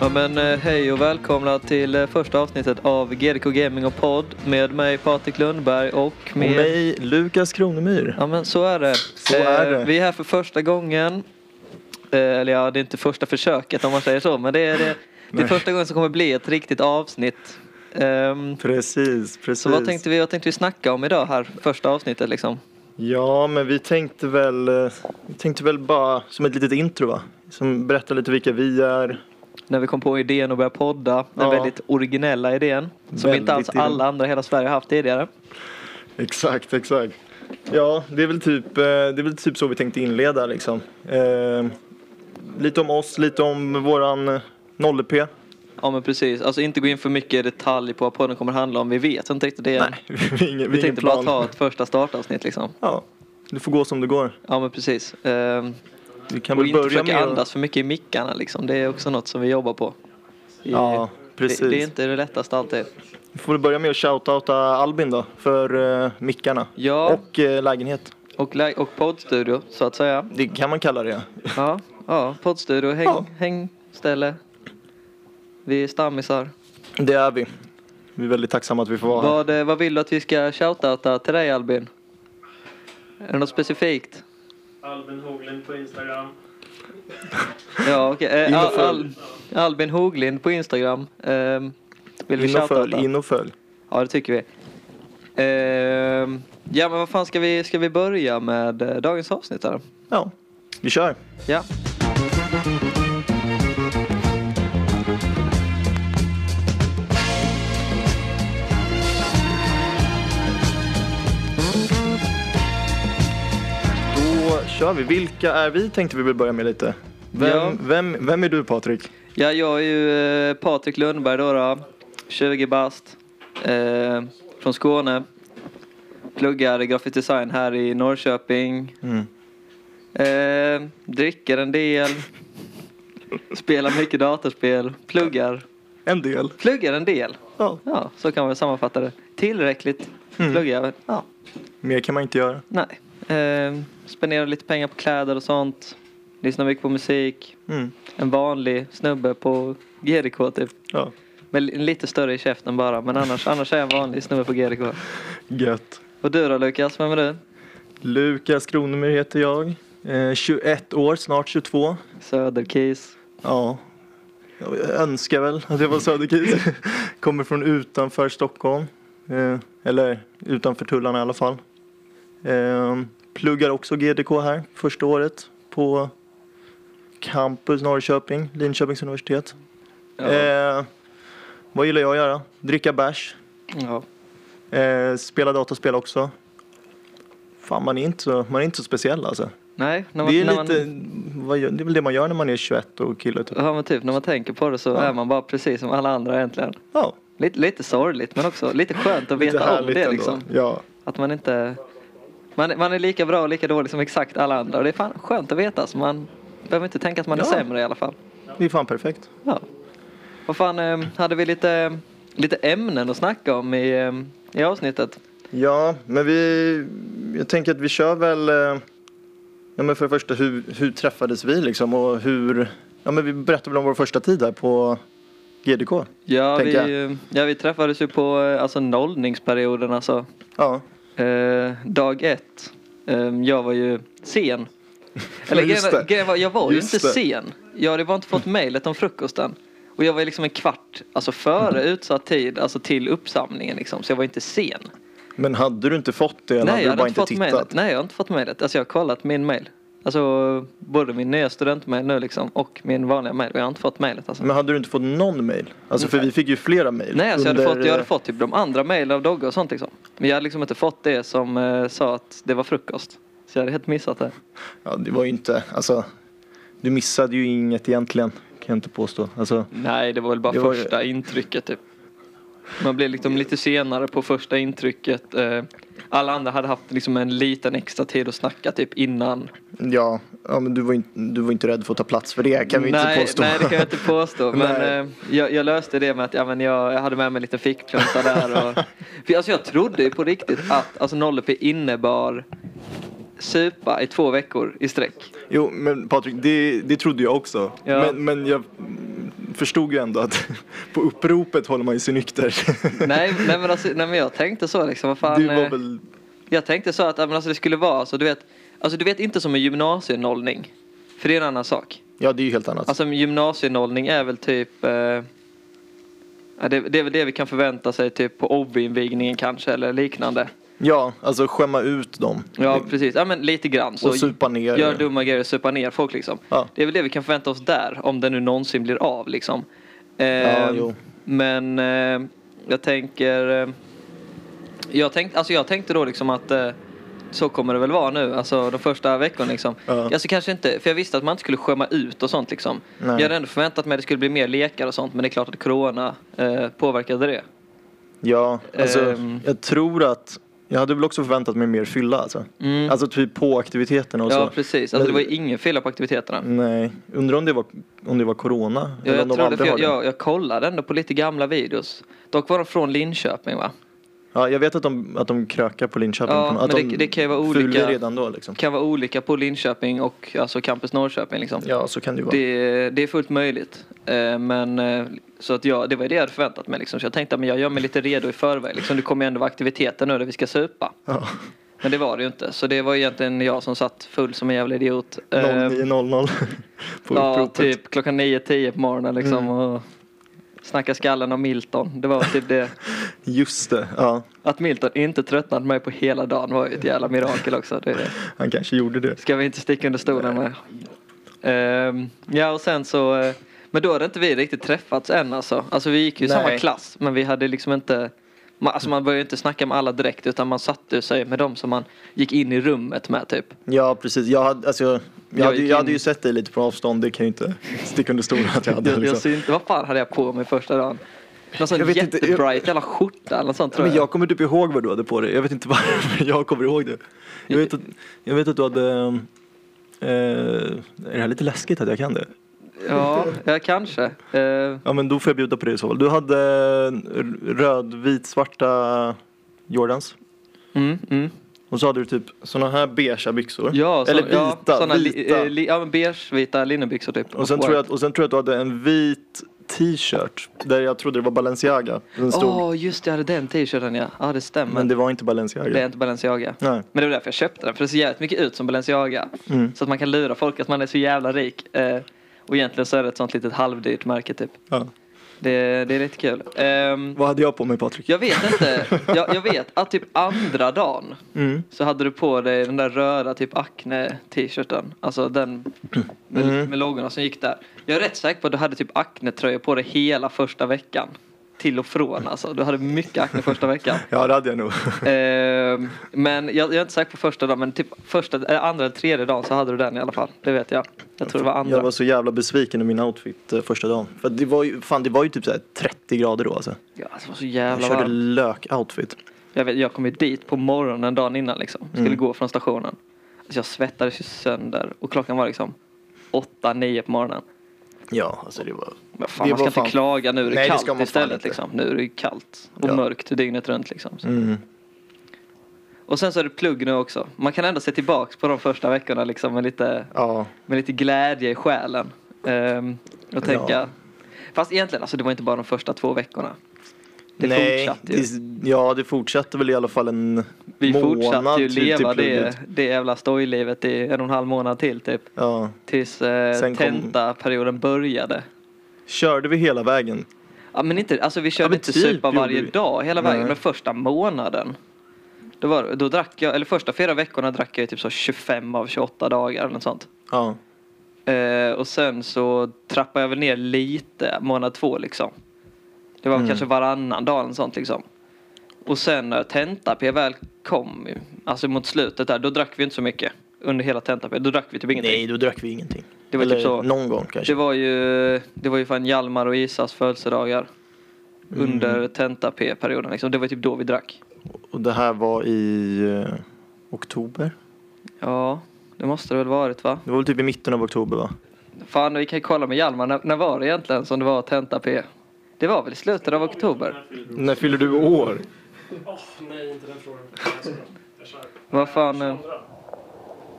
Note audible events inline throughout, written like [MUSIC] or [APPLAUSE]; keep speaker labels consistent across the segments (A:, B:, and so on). A: Ja men eh, hej och välkomna till eh, första avsnittet av GDK Gaming och podd med mig Patrik Lundberg och med...
B: Med mig, Lukas Kronemyr.
A: Ja men så är det. Eh,
B: Så är det.
A: Vi är här för första gången. Eh, eller ja, det är inte första försöket om man säger så men det är det, det är
B: Nej.
A: första gången som kommer bli ett riktigt avsnitt. Ehm,
B: Precis, precis.
A: så vad tänkte vi, vad tänkte vi snacka om idag här, första avsnittet liksom?
B: Ja, men vi tänkte väl, eh, vi tänkte väl bara som ett litet intro va? Som berättar lite vilka vi är. [LAUGHS]
A: När vi kom på idén att börja podda, den
B: Ja.
A: väldigt originella idén. Som
B: Väldigt
A: inte alls alla andra i hela Sverige har haft tidigare.
B: Exakt, exakt. Ja, det är väl typ, eh, det är väl typ så vi tänkte inleda liksom. Eh, lite om oss, lite om våran eh, 0P.
A: Ja men precis, alltså inte gå in för mycket i detalj på vad podden kommer handla om. Vi vet inte riktigt det än.
B: [LAUGHS] Nej, vi har
A: Vi
B: ingen, vi har ingen
A: tänkte bara
B: plan.
A: ta ett första startavsnitt liksom.
B: Ja, det får gå som det går.
A: Ja men precis. Ehm,
B: Vi kan
A: och
B: väl
A: inte
B: börja
A: försöka
B: med... att-
A: andas för mycket i mickarna liksom. Det är också något som vi jobbar på. I-
B: Ja, precis.
A: Det, det är inte det lättaste alltid.
B: Vi får väl börja med att shoutouta Albin då, för uh, mickarna.
A: Ja.
B: Och eh, lägenhet.
A: Och, lä- och poddstudio så att säga.
B: Det kan man kalla det. ja.
A: Ja, ja poddstudio, häng,
B: Ja.
A: hängställe. Vi är stammisar.
B: Det är vi. Vi är väldigt tacksamma att vi får vara här.
A: Vad, eh, vad vill du att vi ska shoutouta till dig Albin? Är det något specifikt?
C: Albin Hoglind på Instagram.
A: Ja, okej. Eh,
B: In och
A: Al-
B: följ.
A: Al- Albin Hoglind på Instagram. Ehm, vill vi
B: In och
A: shoutouta?
B: följ, in och följ.
A: Ja, det tycker vi. Ehm, ja, men vad fan ska vi, ska vi börja med eh, dagens avsnitt här?
B: Ja, vi kör.
A: Ja.
B: Då kör vi. Vilka är vi tänkte vi vill börja med lite. Vem,
A: Ja.
B: vem, vem är du Patrik?
A: ja, jag är ju eh, Patrik Lundberg då, då 20 bast, eh, från Skåne. Pluggar grafisk design här i Norrköping.
B: Mm.
A: Eh, dricker en
B: [LAUGHS]
A: del. Spelar mycket datorspel. Pluggar.
B: En del.
A: Pluggar en del.
B: Ja,
A: Ja, så kan man väl sammanfatta det. Tillräckligt
B: Mm.
A: pluggar jag väl. Ja,
B: mer kan man inte göra.
A: nej. Ehm, spenderar lite pengar på kläder och sånt. Lyssnar mycket på musik.
B: Mm.
A: En vanlig snubbe på GDK typ.
B: Ja,
A: Med li- lite större i käften bara. Men annars, annars är jag en vanlig snubbe på GDK.
B: gött.
A: Och du då Lukas, vem är du?
B: Lukas Kronemyr heter jag. Eh, 21 år, snart 22.
A: Söderkis.
B: Ja. Jag önskar väl att jag var söderkis. Kommer från utanför Stockholm. Eh, eller utanför tullarna i alla fall. Eh, pluggar också GDK här första året på Campus Norrköping, Linköpings universitet.
A: Ja.
B: Eh, vad gillar jag att göra? Dricka bärs.
A: Ja.
B: Eh, spela dataspel också. Fan, man är inte så, man är inte så speciell alltså.
A: Nej, när man,
B: Det är,
A: när
B: lite,
A: man,
B: vad gör- det är väl det man gör när man är 21 och kille. Typ.
A: ja, men typ, när man tänker på det så är man bara precis som alla andra egentligen.
B: Ja.
A: Lite, lite sorgligt men också lite skönt att
B: Lite
A: veta om
B: härligt
A: det
B: ändå.
A: liksom.
B: Ja,
A: Att man inte... Man, man är lika bra och lika dålig som exakt alla andra. Och det är fan skönt att veta. Så man behöver inte tänka att man är
B: Ja.
A: sämre i alla fall.
B: det är fan perfekt.
A: Ja. Vad fan, eh, hade vi lite, lite ämnen att snacka om i, eh, i avsnittet?
B: Ja, men vi, jag tänker att vi kör väl, eh, ja men för det första hur, hur träffades vi liksom och hur, ja men vi berättade väl om vår första tid här på GDK.
A: Ja, vi,
B: Tänker
A: eh, ja vi träffades ju på eh, alltså, nollningsperioden alltså.
B: Ja,
A: Eh, dag ett. Eh, jag var ju
B: [LAUGHS]
A: sen. Eller
B: Just
A: grejen,
B: det.
A: grejen var, jag var
B: Just
A: ju inte
B: det. Mm.
A: sen. Jag hade bara inte fått mejlet om frukosten. Och jag var ju liksom en kvart, alltså före
B: Mm.
A: utsatt tid, alltså till uppsamlingen liksom. Så jag var inte sen.
B: men hade du inte fått det eller
A: Nej,
B: hade
A: jag
B: du
A: hade
B: bara
A: inte
B: inte
A: fått mejlet.
B: tittat?
A: Nej, jag har inte fått mejlet. Alltså jag har kollat min mejl. Alltså både min nya studentmejl nu liksom och min vanliga mejl. Och jag har inte fått mejlet alltså.
B: Men hade du inte fått någon mail? Alltså för vi fick ju flera mail.
A: Nej, alltså jag, hade
B: under,
A: fått, jag hade
B: eh,
A: fått typ de andra mejlen av Dogge och sånt liksom. Men jag hade liksom inte fått det som eh, sa att det var frukost. Så jag hade helt missat det.
B: Ja, det var ju inte, alltså, du missade ju inget egentligen, kan jag inte påstå. Alltså,
A: Nej, det var väl bara
B: Det var ju-
A: första intrycket typ. Man blev liksom lite senare på första intrycket. eh, Alla andra hade haft liksom en liten extra tid att snacka typ innan.
B: ja, ja men du var, inte, du var inte rädd för att ta plats för det, kan vi
A: nej,
B: inte påstå.
A: Nej, det kan jag inte
B: [LAUGHS]
A: påstå.
B: Nej.
A: Men eh, jag, jag löste det med att ja, men jag, jag hade med mig en liten fickplunta där.
B: [LAUGHS]
A: Och, för alltså, jag trodde ju på riktigt att alltså, 0P innebar supa i två veckor i sträck.
B: Jo, men Patrik, det, det trodde jag också.
A: Ja.
B: Men, men jag förstod ju ändå att [LAUGHS] på uppropet håller man ju sig nykter. [LAUGHS]
A: Nej, nej, men alltså, nej men jag tänkte så liksom. Vad fan,
B: du var
A: eh,
B: väl...
A: Jag tänkte så att ja, men alltså, det skulle vara alltså, du vet, alltså du vet inte som en gymnasienollning. För det är en annan sak.
B: Ja, det är ju helt annat.
A: Alltså en gymnasienollning är väl typ eh, ja, det, det är väl det vi kan förvänta sig typ på OB-invigningen kanske eller liknande.
B: ja, alltså skämma ut dem.
A: Ja precis, ja men lite grann. Så
B: Mm. och supa ner.
A: Gör dumma grejer och supa ner folk liksom.
B: Ja.
A: Det är väl det vi kan förvänta oss där, om det nu någonsin blir av liksom. Eh,
B: Ja, jo.
A: Men eh, jag tänker... Eh, jag, tänk, alltså jag tänkte då liksom att eh, så kommer det väl vara nu, alltså de första veckorna liksom.
B: Ja.
A: Alltså kanske inte, för jag visste att man inte skulle skämma ut och sånt liksom.
B: Nej.
A: Jag hade ändå förväntat mig att det skulle bli mer lekar och sånt, men det är klart att corona eh, påverkade det.
B: Ja, alltså
A: Ehm.
B: jag tror att jag hade väl också förväntat mig mer fylla alltså.
A: Mm.
B: Alltså typ på aktiviteterna och
A: ja,
B: så.
A: precis. Alltså det
B: Men-
A: var ju ingen fylla på aktiviteterna.
B: Nej, undrar om det var, om det var corona
A: Ja,
B: eller
A: jag,
B: om de
A: tror det, för
B: aldrig har
A: jag, jag,
B: det.
A: jag kollade ändå på lite gamla videos. Dock var de från Linköping va?
B: Ja, jag vet att de, att de krökar på Linköping.
A: Ja,
B: på något- att
A: men det-
B: de
A: det kan ju vara
B: fyllde
A: olika-
B: redan då liksom.
A: Kan vara olika på Linköping och alltså Campus Norrköping liksom.
B: Ja, så kan det ju vara.
A: Det, det är fullt möjligt. Eh, men eh, så att jag, det var ju det jag hade förväntat mig liksom. Så jag tänkte att jag gör mig lite redo i förväg liksom. Det kommer ju ändå vara aktiviteter nu där vi ska supa.
B: Ja,
A: Men det var det ju inte. Så det var egentligen jag som satt full som en jävla idiot. Eh,
B: [LAUGHS] 09.00 på Mm.
A: ja,
B: uppropet.
A: typ klockan 9-10 på morgonen liksom. Och snacka skallen om Milton. Det var typ det.
B: Just det, ja.
A: Att Milton inte tröttnade mig på hela dagen var ju ett jävla mirakel också. Det
B: Han kanske gjorde det.
A: ska vi inte sticka under stolen med. Ehm, ja och sen så, eh, men då hade inte vi riktigt träffats än alltså. Alltså vi gick ju i
B: Nej.
A: samma klass men vi hade liksom inte, man, alltså man började inte snacka med alla direkt utan man satte sig med dem som man gick in i rummet med typ.
B: Ja, precis. Jag hade, alltså, jag,
A: Jag
B: hade,
A: gick
B: jag hade
A: in-
B: ju sett dig lite på avstånd. Det kan ju inte sticka under stolen att jag [LAUGHS] hade.
A: Jag, jag
B: Liksom.
A: synte, vad fan hade jag på mig första dagen? Någon sån
B: Jag vet inte, jag-
A: jättebright jävla skjorta eller något sånt tror
B: Men
A: jag.
B: jag kommer typ ihåg vad du hade på dig. Jag vet inte varför [LAUGHS] jag kommer ihåg det. Jag vet att, jag vet att du hade... ehm, Eh, är det här lite läskigt att jag kan det?
A: Ja, ja kanske. Ehm,
B: Ja men då får jag bjuda på det i så fall. Du hade r- röd, vit, svarta Jordans.
A: mm, mm.
B: Och så hade du typ såna här beigea byxor.
A: Ja, så,
B: Eller vita.
A: ja, såna li-
B: vita.
A: eh, Li, ja, men beige, vita linnebyxor typ.
B: och, sen tror jag att, och sen tror jag att du hade en vit t-shirt. Där jag trodde det var Balenciaga. Den stod.
A: Åh, just det, jag hade den t-shirten ja. Ja, det stämmer.
B: men det
A: det,
B: var inte Balenciaga.
A: är inte Balenciaga.
B: Nej.
A: Men det var därför jag köpte den, för det ser jävligt mycket ut som Balenciaga.
B: Mm.
A: Så att man kan lura folk att man är så jävla rik. Eh, och egentligen så är det ett sånt litet halvdyrt märke typ.
B: Ja.
A: Det, det är lite kul. Ehm,
B: Vad hade jag på mig Patrik?
A: jag vet inte,
B: [LAUGHS]
A: jag, jag vet att typ andra dagen
B: Mm.
A: så hade du på dig den där röda typ Acne t-shirten. Alltså den med,
B: Mm.
A: med loggorna som gick där. Jag är rätt säker på att du hade typ Acne tröja på dig hela första veckan. Till och från alltså. Du hade mycket Acne första veckan.
B: Ja det hade jag nog.
A: Ehm, men jag, jag är inte säker på första dagen men typ första, eller andra eller tredje dagen så hade du den i alla fall. Det vet jag. Jag tror det var andra.
B: Jag var så jävla besviken i min outfit eh, första dagen. För att det var ju, fan, det var ju typ så här 30 grader då alltså.
A: Ja, alltså, det var så
B: Jag
A: jävla
B: körde
A: varmt.
B: lök-outfit.
A: Jag, vet, jag kom ju dit på morgonen dagen innan liksom. Skulle
B: Mm.
A: gå från stationen. Alltså, jag svettades ju sönder och klockan var liksom åtta nio på morgonen.
B: Ja, alltså det var...
A: Men fan,
B: Det
A: man ska
B: var
A: inte
B: fan-
A: klaga, nu är det
B: Nej, det
A: kallt
B: ska man fan
A: istället.
B: inte.
A: Liksom. Nu är det ju kallt och
B: Ja.
A: mörkt dygnet runt. Liksom. Så-
B: Mm.
A: Och sen så är det plugg nu också. Man kan ändå se tillbaka på de första veckorna liksom, med, lite,
B: Ja,
A: med lite glädje i själen. Ehm, och tänka...
B: Ja.
A: Fast egentligen, alltså, det var inte bara de första två veckorna. Det fortsatte ju.
B: det- ja, det fortsatte väl i alla fall en
A: Vi
B: månad
A: fortsatte ju
B: till- till
A: leva
B: plugget.
A: det, det jävla stojlivet i en och en halv månad till typ.
B: Ja.
A: Tills eh,
B: Sen kom-
A: tentaperioden började.
B: Körde vi hela vägen?
A: Ja men inte, alltså vi körde
B: men
A: inte
B: typ
A: supa
B: gjorde
A: varje
B: vi.
A: dag hela vägen.
B: Nej.
A: Men första månaden. Då, var, då drack jag, eller första fyra veckorna drack jag ju typ så 25 av 28 dagar eller något sånt.
B: Ja.
A: Eh, och sen så trappade jag väl ner lite månad två liksom. Det var väl
B: Mm.
A: kanske varannan dag eller något sånt liksom. Och sen när tenta väl kom, ju, alltså mot slutet där, då drack vi inte så mycket. Under hela tenta Då drack vi typ ingenting.
B: Nej, då drack vi ingenting.
A: Det var
B: Eller
A: typ så.
B: någon gång
A: Det
B: kanske.
A: var ju, det var ju fan Hjalmar och Isas födelsedagar. Under tenta-P-perioden liksom. Det var typ då vi drack.
B: Och det här var i eh, oktober?
A: Ja, det måste det väl varit va?
B: Det var väl typ i mitten av oktober va?
A: Fan, vi kan ju kolla med Hjalmar. När, när var det egentligen som det var tenta-P? Det var väl i slutet av oktober?
B: När fyller du år?
C: Åh, nej, inte den frågan. Jag kör.
A: Vad fan... eh,
C: 22.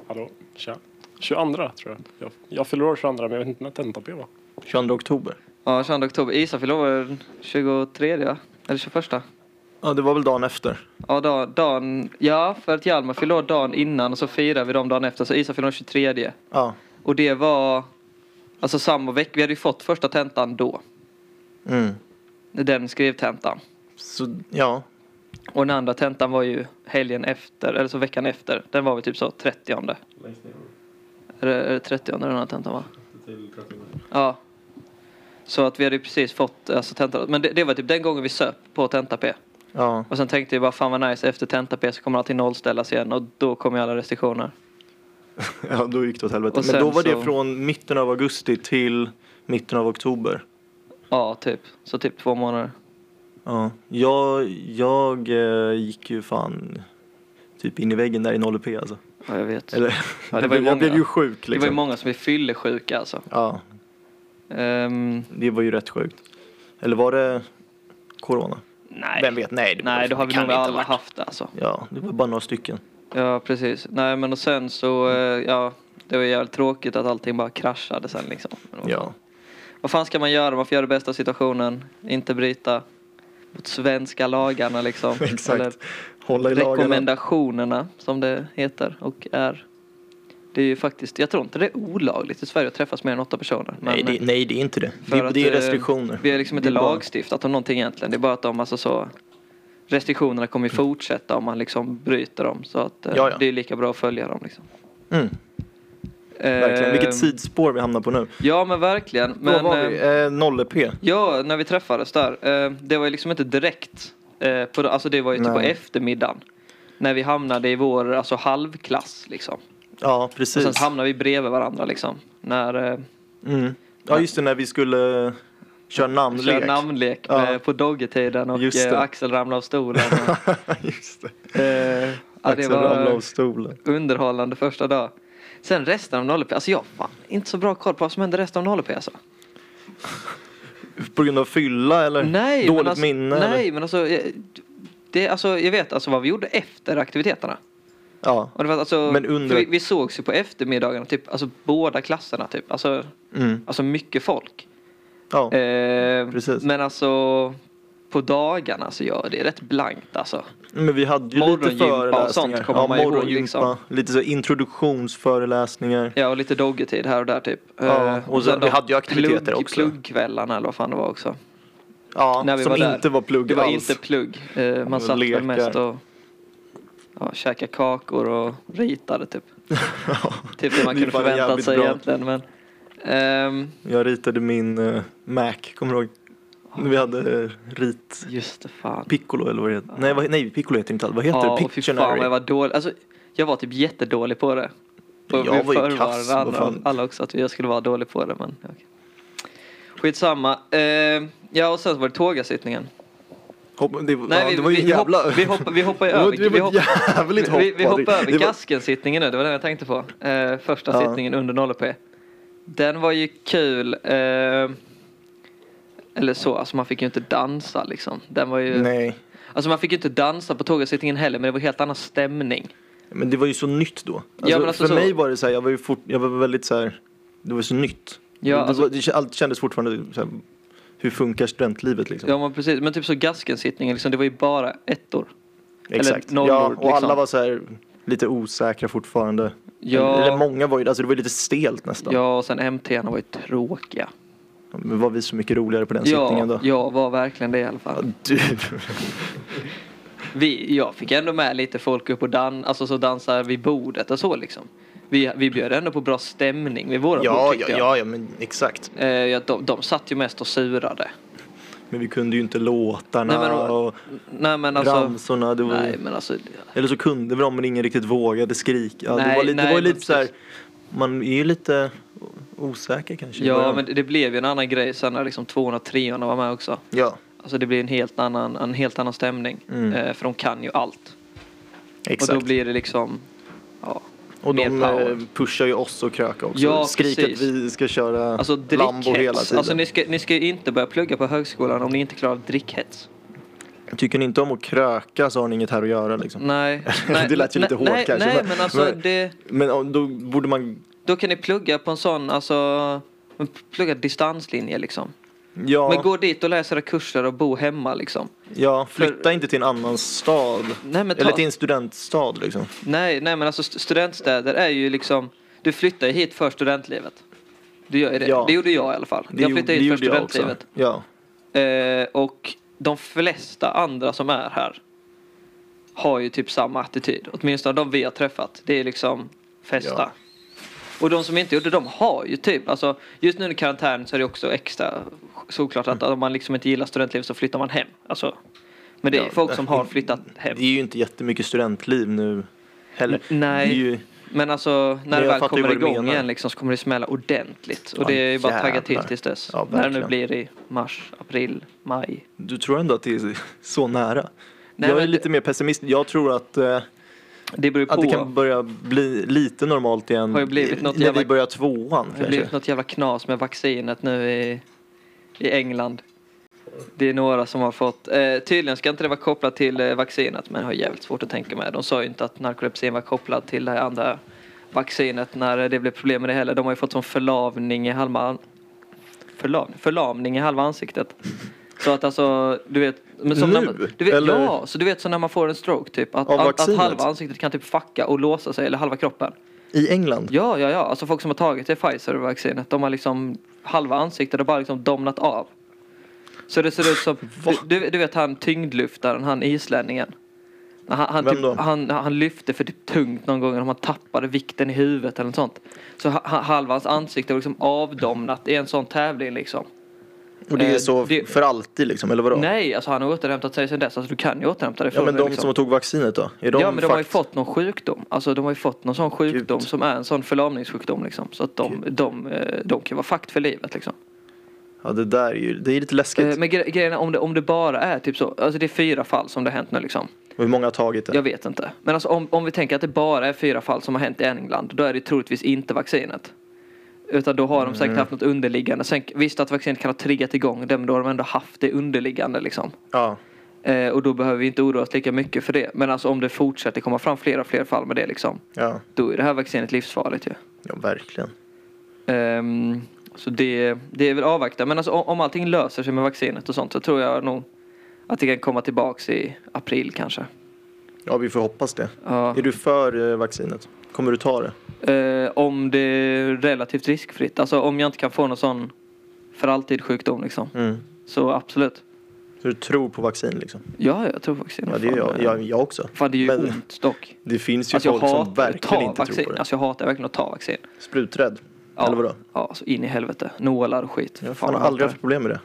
D: Hallå, tja. 22 tror jag. Jag, jag fyller år 22 men jag vet inte när tenta-p var.
B: 22 oktober.
A: Ja, 22 oktober. Isa fyllde år den 23 va? Eller 21?
B: Ja, det var väl dagen efter.
A: Ja, dagen, dagen, ja, för att Hjalmar fyllde år dagen innan och så firade vi dem dagen efter. Så Isa fyllde år 23.
B: Ja.
A: Och det var alltså samma vecka. Vi hade ju fått första tentan då.
B: Mm.
A: Den skrivtentan.
B: Så, ja.
A: Och den andra tentan var ju helgen efter, eller så veckan efter. Den var vi typ så 30. Eller
D: Längst ner.
A: är det 30 den andra tentan var.
D: Inte till trettionde.
A: Ja. Så att vi hade ju precis fått alltså, tentan. Men det, det var typ den gången vi söp på tenta-P.
B: Ja.
A: Och sen tänkte jag bara fan vad nice efter tenta-P så kommer allting nollställas igen och då kommer ju alla restriktioner.
B: [LAUGHS] ja, då gick det åt helvete.
A: Och
B: Men då
A: sen
B: var
A: så-
B: det från mitten av augusti till mitten av oktober.
A: Ja, typ. Så typ två månader.
B: Ja. Jag, jag eh, gick ju fan typ in i väggen där i 0P alltså.
A: Ja, jag vet.
B: [LAUGHS] Eller,
A: Ja, det var ju
B: jag blev
A: många.
B: ju sjuk
A: Det var ju
B: liksom.
A: många som blev fyllesjuka alltså.
B: ja,
A: Ehm,
B: det var ju rätt sjukt. Eller var det corona?
A: nej.
B: Vem vet? Nej, det,
A: Nej, då har vi
B: kan
A: nog
B: det inte ha
A: alla
B: varit.
A: haft det alltså.
B: Ja, det var bara några stycken.
A: Ja, precis. Nej, men och sen så, eh, ja, det var jävligt tråkigt att allting bara kraschade sen liksom. Men vad-
B: Ja.
A: Vad fan ska man göra? Man får göra det bästa av situationen. Inte bryta mot svenska lagarna liksom.
B: [LAUGHS] Exakt.
A: Eller
B: Hålla i lagarna.
A: rekommendationerna som det heter och är. Det är ju faktiskt, jag tror inte det är olagligt i Sverige att träffas mer än åtta personer. men-
B: Nej det, nej, det är inte det.
A: För
B: Det,
A: att,
B: det är
A: eh,
B: restriktioner.
A: Vi har liksom inte
B: Det är bara-
A: lagstiftat om någonting egentligen. Det är bara att de alltså så restriktionerna kommer ju fortsätta om man liksom bryter dem. Så att eh,
B: Mm. Ja, ja.
A: det är lika bra att följa dem liksom.
B: Mm, verkligen.
A: Eh,
B: Vilket sidospår vi hamnar på nu.
A: Ja men verkligen.
B: Men,
A: Men,
B: var vi?
A: eh,
B: Eh, 0P.
A: Ja, när vi träffades där. Eh, det var ju liksom inte direkt. Eh, på, alltså det var ju typ på
B: Nej.
A: eftermiddagen. När vi hamnade i vår alltså, halvklass liksom.
B: Ja,
A: Och sen
B: precis.
A: så hamnade vi bredvid varandra liksom. När eh,
B: Mm. Ja, just det, när vi skulle eh, köra
A: vi
B: namnlek.
A: körde
B: [LAUGHS]
A: namnlek
B: Ja.
A: med, på doggetiden och
B: Just det.
A: eh, Axel ramlade av stolen.
B: [LAUGHS]
A: Och,
B: just det.
A: eh, ja, det
B: Axel ramlade av
A: var
B: stolen.
A: underhållande första dag. Sen resten av 0 alltså jag har fan inte så bra koll på vad som hände resten av 0 alltså.
B: På grund av fylla eller
A: Nej,
B: dåligt
A: men alltså,
B: minne? eller?
A: Nej, men alltså, jag- det, alltså jag vet alltså vad vi gjorde efter aktiviteterna.
B: Ja.
A: Och det var alltså,
B: Men
A: för
B: under-
A: vi, vi sågs ju på eftermiddagarna, typ, alltså båda klasserna typ. Alltså,
B: Mm.
A: alltså mycket folk.
B: ja.
A: Eh,
B: Precis.
A: Men alltså på dagarna så ja, det är rätt blankt alltså.
B: Men vi hade ju lite
A: morgongympa och
B: föreläsningar.
A: sånt kommer
B: ja,
A: man ihåg,
B: morgongympa,
A: liksom. Ehm,
B: Lite så introduktionsföreläsningar.
A: Ja, och lite doggetid här och där typ.
B: Ja,
A: Eh,
B: och sen- vi
A: de
B: hade ju aktiviteter
A: plugg,
B: också.
A: Pluggkvällarna eller vad fan det var också.
B: Ja,
A: när vi
B: som
A: var där.
B: inte var plugg
A: Det var
B: alls.
A: inte plugg. Eh, man
B: var
A: satt väl
B: lekar.
A: mest och ja, käkade kakor och ritade
B: [LAUGHS]
A: typ. typ det man
B: Det är
A: kunde
B: fan
A: förväntat
B: jävligt
A: sig
B: bra.
A: egentligen. Men, ehm,
B: Jag ritade min eh, Mac, kommer du ihåg? Vi hade eh, rit
A: just det, fan.
B: piccolo eller vad det heter. Nej, vad, nej piccolo heter inte allt. Vad heter
A: ja,
B: det?
A: och fy fan vad jag var dålig. Alltså, jag var typ jättedålig på det. Och
B: Jag
A: vi
B: var ju
A: förvarnade
B: kass, vad
A: andra-
B: fan.
A: alla också att jag skulle vara dålig på det. Men, okay. Skitsamma. Eh, ja, och sen så var det tågasittningen.
B: Hopp, det,
A: Nej,
B: ja,
A: vi,
B: det var ju
A: vi,
B: en jävla...
A: hopp, vi, hoppar, vi hoppar ju
B: [LAUGHS] Det var-
A: över.
B: det var
A: Vi hoppar,
B: ett jävligt hopp.
A: vi, vi hoppar
B: var det.
A: över
B: Det var-
A: gaskensittningen nu, det var den jag tänkte på. Eh, första
B: Ja.
A: sittningen under 0P. Den var ju kul. Eh, eller så, alltså man fick ju inte dansa liksom. Den var ju,
B: Nej,
A: Alltså man fick ju inte dansa på tågasittningen heller men det var helt annan stämning.
B: men det var ju så nytt då. Alltså,
A: men alltså
B: för
A: så-
B: mig var det så här, jag var ju fort, jag var väldigt så här, det var så nytt.
A: Ja,
B: det,
A: alltså-
B: var, det, kä- allt kändes fortfarande så här, hur funkar studentlivet liksom?
A: Ja men precis, men typ så gaskensittningen liksom, det var ju bara ettor.
B: Exakt.
A: eller nollor,
B: ja, och alla
A: liksom.
B: var så här lite osäkra fortfarande.
A: Ja.
B: Eller många var ju, alltså det var ju lite stelt nästan.
A: Ja och sen MT'na var ju tråkiga.
B: Men var vi så mycket roligare på den sittningen
A: Ja,
B: då?
A: jag var verkligen det i alla fall.
B: Du,
A: Vi, jag fick ändå med lite folk upp och dan, alltså så dansar vid bordet och så liksom. Vi, vi bjöd ändå på bra stämning vid våra bord
B: ja, ja,
A: tyckte jag.
B: ja, ja, men exakt.
A: Eh, ja, de, de satt ju mest och surade.
B: Men vi kunde ju inte låtarna
A: Nej, men-
B: och
A: Nej men alltså.
B: ramsorna. Det var,
A: nej men alltså.
B: Eller så kunde vi dem men ingen riktigt vågade skrika. det
A: Nej,
B: var, li- det
A: nej,
B: var ju
A: men
B: lite så här, man är ju lite osäker kanske. i
A: Ja
B: början.
A: men det- det blev ju en annan grej sen när liksom 203 var med också.
B: ja,
A: Alltså det blir en helt annan, en helt annan stämning.
B: Mm.
A: Eh, för de kan ju allt.
B: exakt.
A: Och då blir det liksom. Ja.
B: Och de
A: mer power.
B: eh, pushar ju oss och kröka också.
A: Ja,
B: Skriker
A: precis.
B: att vi ska köra
A: Alltså
B: Lambo hela
A: drickhets.
B: tiden.
A: Alltså ni ska, ni ska ju inte börja plugga på högskolan om ni inte klarar av drickhets.
B: Tycker ni inte om att kröka så har ni inget här att göra liksom.
A: Nej.
B: [LAUGHS] Det
A: nej
B: lät ju lite
A: nej,
B: hårt
A: nej,
B: kanske,
A: Nej
B: men-
A: men alltså
B: men-
A: det.
B: Men om- då borde man...
A: Då kan ni plugga på en sån, alltså Men plugga distanslinje liksom. Men
B: Ja,
A: gå dit och läsa era kurser och bo hemma liksom.
B: ja flytta inte till en annan stad.
A: Nej men, ta,
B: Eller till en studentstad liksom.
A: nej, nej, men alltså st- studentstäder är ju liksom, du flyttar ju hit för studentlivet. Du gör ju det.
B: Ja.
A: Det gjorde jag i alla fall. jag
B: gjorde-
A: flyttade hit för
B: gjorde jag också.
A: studentlivet.
B: Ja.
A: Eh, och de flesta andra som är här har ju typ samma attityd. Åtminstone de vi har träffat. Det är liksom festa.
B: Ja.
A: Och de som inte gjorde det, de har ju typ, alltså just nu under karantänen så är det också extra såklart att om man liksom inte gillar studentlivet så flyttar man hem. Alltså, men det är
B: Ja,
A: folk som
B: nej.
A: har flyttat hem.
B: Det är ju inte jättemycket studentliv nu heller.
A: N- nej.
B: Det är ju,
A: Men alltså när
B: Men
A: det
B: jag
A: väl
B: fattar ju
A: kommer
B: vad du
A: igång
B: menar.
A: igen liksom så kommer det smälla ordentligt. Och
B: Ja,
A: det är ju bara att tagga till
B: jävlar.
A: tills dess.
B: Ja,
A: när det nu
B: verkligen.
A: blir i mars, april, maj.
B: du tror ändå att det är så nära?
A: Nej,
B: jag är
A: men-
B: lite mer pessimist. Jag tror att, eh,
A: Det beror ju på.
B: att det kan börja bli lite normalt igen
A: Har ju blivit något
B: när
A: jävla-
B: vi börjar tvåan.
A: Det har
B: kanske.
A: blivit något jävla knas med vaccinet nu i, i England. Det är några som har fått. Eh, tydligen ska inte det vara kopplat till eh, vaccinet men jag har jävligt svårt att tänka mig. De sa ju inte att narkolepsin var kopplad till det här andra vaccinet när eh, det blev problem med det heller. De har ju fått sån förlamning i halva an- förlam, förlamning i halva ansiktet. Så att alltså, du vet. Men som
B: Nu?
A: när man, du vet,
B: Eller?
A: Ja, så du vet så när man får en stroke typ. Att,
B: Av
A: att, att
B: vaccinet?
A: halva ansiktet kan typ fucka och låsa sig eller halva kroppen.
B: I England?
A: Ja, ja, ja. Alltså folk som har tagit det Pfizer-vaccinet, de har liksom halva ansiktet har bara liksom domnat av. Så det ser ut som, du, du, du vet han tyngdlyftaren, han islänningen. Han, han,
B: Vem
A: typ,
B: då?
A: han, han lyfte för typ tungt någon gång, om han tappade vikten i huvudet eller något sånt. Så ha, ha- halva hans ansikte var liksom avdomnat i en sån tävling liksom.
B: Och det
A: Eh,
B: är så
A: det-
B: för alltid liksom, eller vadå?
A: Nej, alltså han har återhämtat sig sedan dess. Alltså du kan ju återhämta dig
B: ja
A: från
B: men
A: det,
B: de
A: liksom.
B: som tog vaccinet då? Är de
A: ja men de har ju
B: fucked?
A: fått någon sjukdom. Alltså de har ju fått någon sån sjukdom som är en sån förlamningssjukdom liksom. Så att de, de, eh, de kan vara fakt för livet liksom.
B: Ja det där är ju, det är lite läskigt.
A: Eh, Men gre- grejen är om det, om det bara är typ så. Alltså det är fyra fall som det har hänt nu liksom.
B: Och hur många har tagit det?
A: Jag vet inte. Men alltså om, om vi tänker att det bara är fyra fall som har hänt i England. Då är det troligtvis inte vaccinet. Utan då har de
B: Mm.
A: säkert haft något underliggande. Sen, visst att vaccinet kan ha triggat igång det men då har de ändå haft det underliggande liksom.
B: Ja.
A: Eh, och då behöver vi inte oroa oss lika mycket för det. Men alltså om det fortsätter komma fram flera och fler fall med det liksom.
B: Ja.
A: Då är det här vaccinet livsfarligt ju.
B: ja, verkligen.
A: Ehm, så det, det är väl avvakta. Men alltså, om, om allting löser sig med vaccinet och sånt så tror jag nog att det kan komma tillbaks i april kanske.
B: Ja vi får hoppas det.
A: Ja.
B: Är du för eh, vaccinet? Kommer du ta det?
A: Eh, om det är relativt riskfritt. Alltså om jag inte kan få någon sån för alltid sjukdom liksom.
B: Mm.
A: Så absolut.
B: Så du tror på vaccin liksom?
A: Ja, jag tror vaccinet.
B: Ja det gör jag,
A: Fan,
B: jag, jag också.
A: Fan det är ju
B: Men-
A: ont dock.
B: Det finns ju
A: Alltså jag
B: folk som
A: hatar att ta
B: verkligen inte tror
A: vaccin.
B: på det.
A: Alltså jag hatar verkligen att ta vaccin.
B: Spruträdd?
A: Ja.
B: Eller vadå?
A: Ja, så in i helvete. Nålar och skit.
B: Jag
A: Fan,
B: fan, har
A: jag
B: aldrig
A: hatar det.
B: haft problem med det.